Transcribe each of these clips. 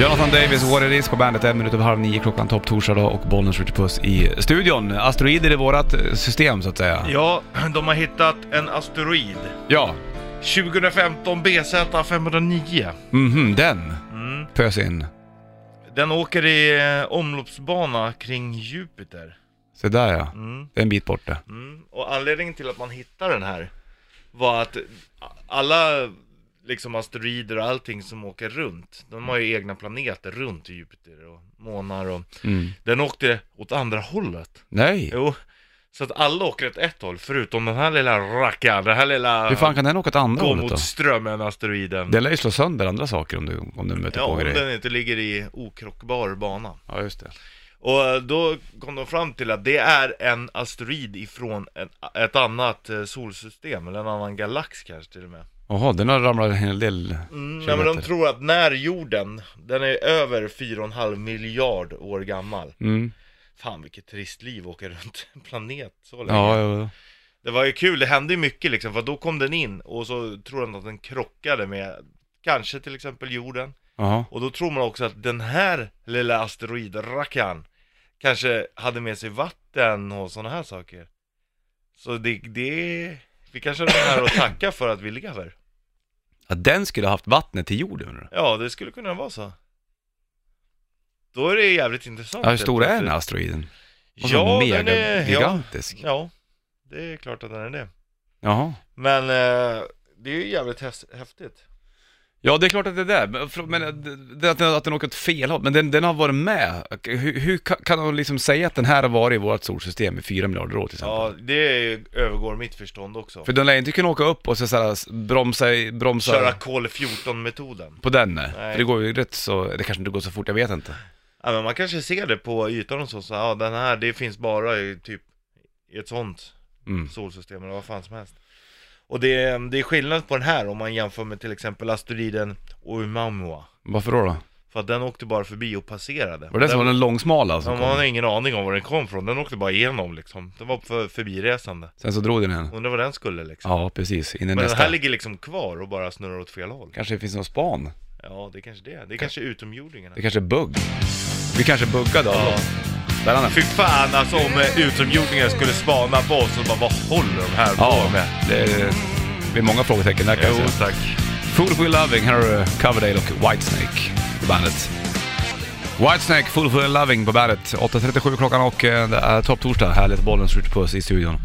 Jonathan Davis, What It Is på bandet, en minut över halv nio klockan topp torsdag då, och Bollnäs Ritchie Puss i studion. Asteroider i vårat eh, system så att säga. Ja, de har hittat en asteroid. Ja. 2015 BZ 509. Mhm, den. Mm. Pös in. Den åker i eh, omloppsbana kring Jupiter. Se där ja. Mm. Det är en bit bort det. Mm. Och anledningen till att man hittade den här var att alla liksom asteroider och allting som åker runt, de har ju egna planeter runt Jupiter och månar och Mm. den åkte åt andra hållet. Nej. Jo, så att alla åker åt ett håll förutom den här lilla rackaren, den här lilla Hur fan kan den åka åt andra gå hållet då? mot strömmen asteroiden. Den lär ju slå sönder andra saker om du, om du möter Ja, på om grejer. den inte ligger i okrockbar bana. Ja, just det. Och eh, då kom de fram till att det är en asteroid ifrån en, ett annat eh, solsystem, eller en annan galax kanske till och med. Jaha, den har ramlat en hel del Mm, nej, men kilometer. de tror att när jorden, den är över 4,5 miljard år gammal. Mm. Fan vilket trist liv åka runt en planet så länge. Ja, ja, ja. Det var ju kul, det hände ju mycket liksom, för då kom den in och så tror den att den krockade med kanske till exempel jorden. Jaha. Och då tror man också att den här lilla asteroidrackaren kanske hade med sig vatten och sådana här saker. Så det, det, vi kanske är här och tacka för att vi lever. Att den skulle ha haft vattnet till jorden undrar du? Ja, det skulle kunna vara så. Då är det jävligt intressant. Ja, hur stor är den helt här Alltså, asteroiden? plötsligt. Den Ja, var den är... Ja, gigantisk. ja, det är klart att den är det. Jaha. Men eh, det är ju jävligt häs- häftigt. Ja, det är klart att det är där. Men, för- men det- det, att, den, att den åker åt fel håll. Men den, den har varit med. Hur, hur ka- kan de liksom säga att den här har varit i vårt solsystem i fyra miljarder år till exempel? Ja, det övergår mitt förstånd också. För den lär inte kunna åka upp och så, så här, s- bromsa, i- bromsa Köra kol 14 metoden. på den. Nej. Nej. För det går ju rätt så, det kanske inte går så fort, jag vet inte. Ja, men man kanske ser det på ytan och så, så ja den här, det finns bara i typ i ett sånt Mm. solsystem eller vad fan som helst. Och det är, det är skillnad på den här om man jämför med till exempel asteroiden Oumuamua. Varför då? då? För att den åkte bara förbi och passerade. Var det den som var den långsmala som Ja, kom? man har ingen aning om var den kom från, den åkte bara igenom liksom. Den var för, förbiresande. Sen så drog den en. Undrar vad den skulle liksom. Ja, precis. In i Men den nästa. här ligger liksom kvar och bara snurrar åt fel håll. Kanske det finns någon span. Ja, det är kanske det. Det är kanske utomjordingarna. Det kanske är bugg. Vi kanske buggar då. Ja. Där han är. Fy fan alltså om eh, utomjordingar skulle spana på oss och bara vad håller de här på Ja, med? det är, det är många frågetecken där kan jag Jo säga. tack. Fool for Your Loving, här har du Coverdale och Whitesnake på bandet. Whitesnake, Fool for Your Loving på bandet. 8.37 klockan och eh, det är topptorsdag. Härligt, bollen skjuter puss i studion.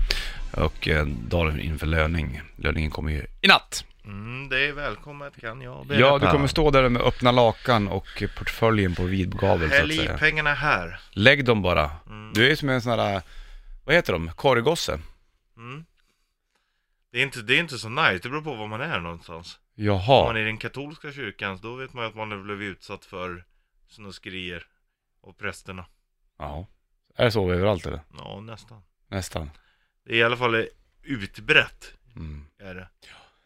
Och eh, dagen inför löning. Löningen kommer ju i natt. Mm, det är välkommet kan jag berätta. Ja, du kommer stå där med öppna lakan och portföljen på vid gavel så att Häll i Mm. säga. pengarna här. Lägg dem bara. Du är ju som en sån här, eh, vad heter de, korgosse? Mm. Det, är inte, det är inte så nice, det beror på var man är någonstans. Om man Jaha. är i den katolska kyrkan då vet man ju att man har blivit utsatt för snuskerier. Och prästerna. Ja. Är det så överallt eller? Ja, nästan. Nästan. Det är i alla fall eh, utbrett. Mm. Är det.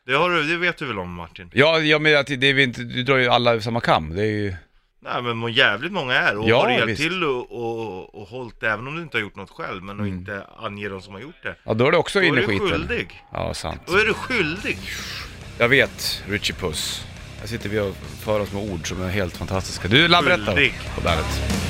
Det, har du, det vet du väl om Martin? Ja, jag menar att det är väl inte, du drar ju alla över samma kam. Det är ju... Nej men må- jävligt många är och Ja, har hjälpt visst. till och, och, och hållit det, även om du inte har gjort något själv men och Mm. inte anger de som har gjort det. Ja, då är det också Då är inne i du skiten. skyldig. Ja, sant. Då är du skyldig. Jag vet, Richie Puss. Här sitter vi och för oss med ord som är helt fantastiska. Du, Labretta Skyldig. på bandet.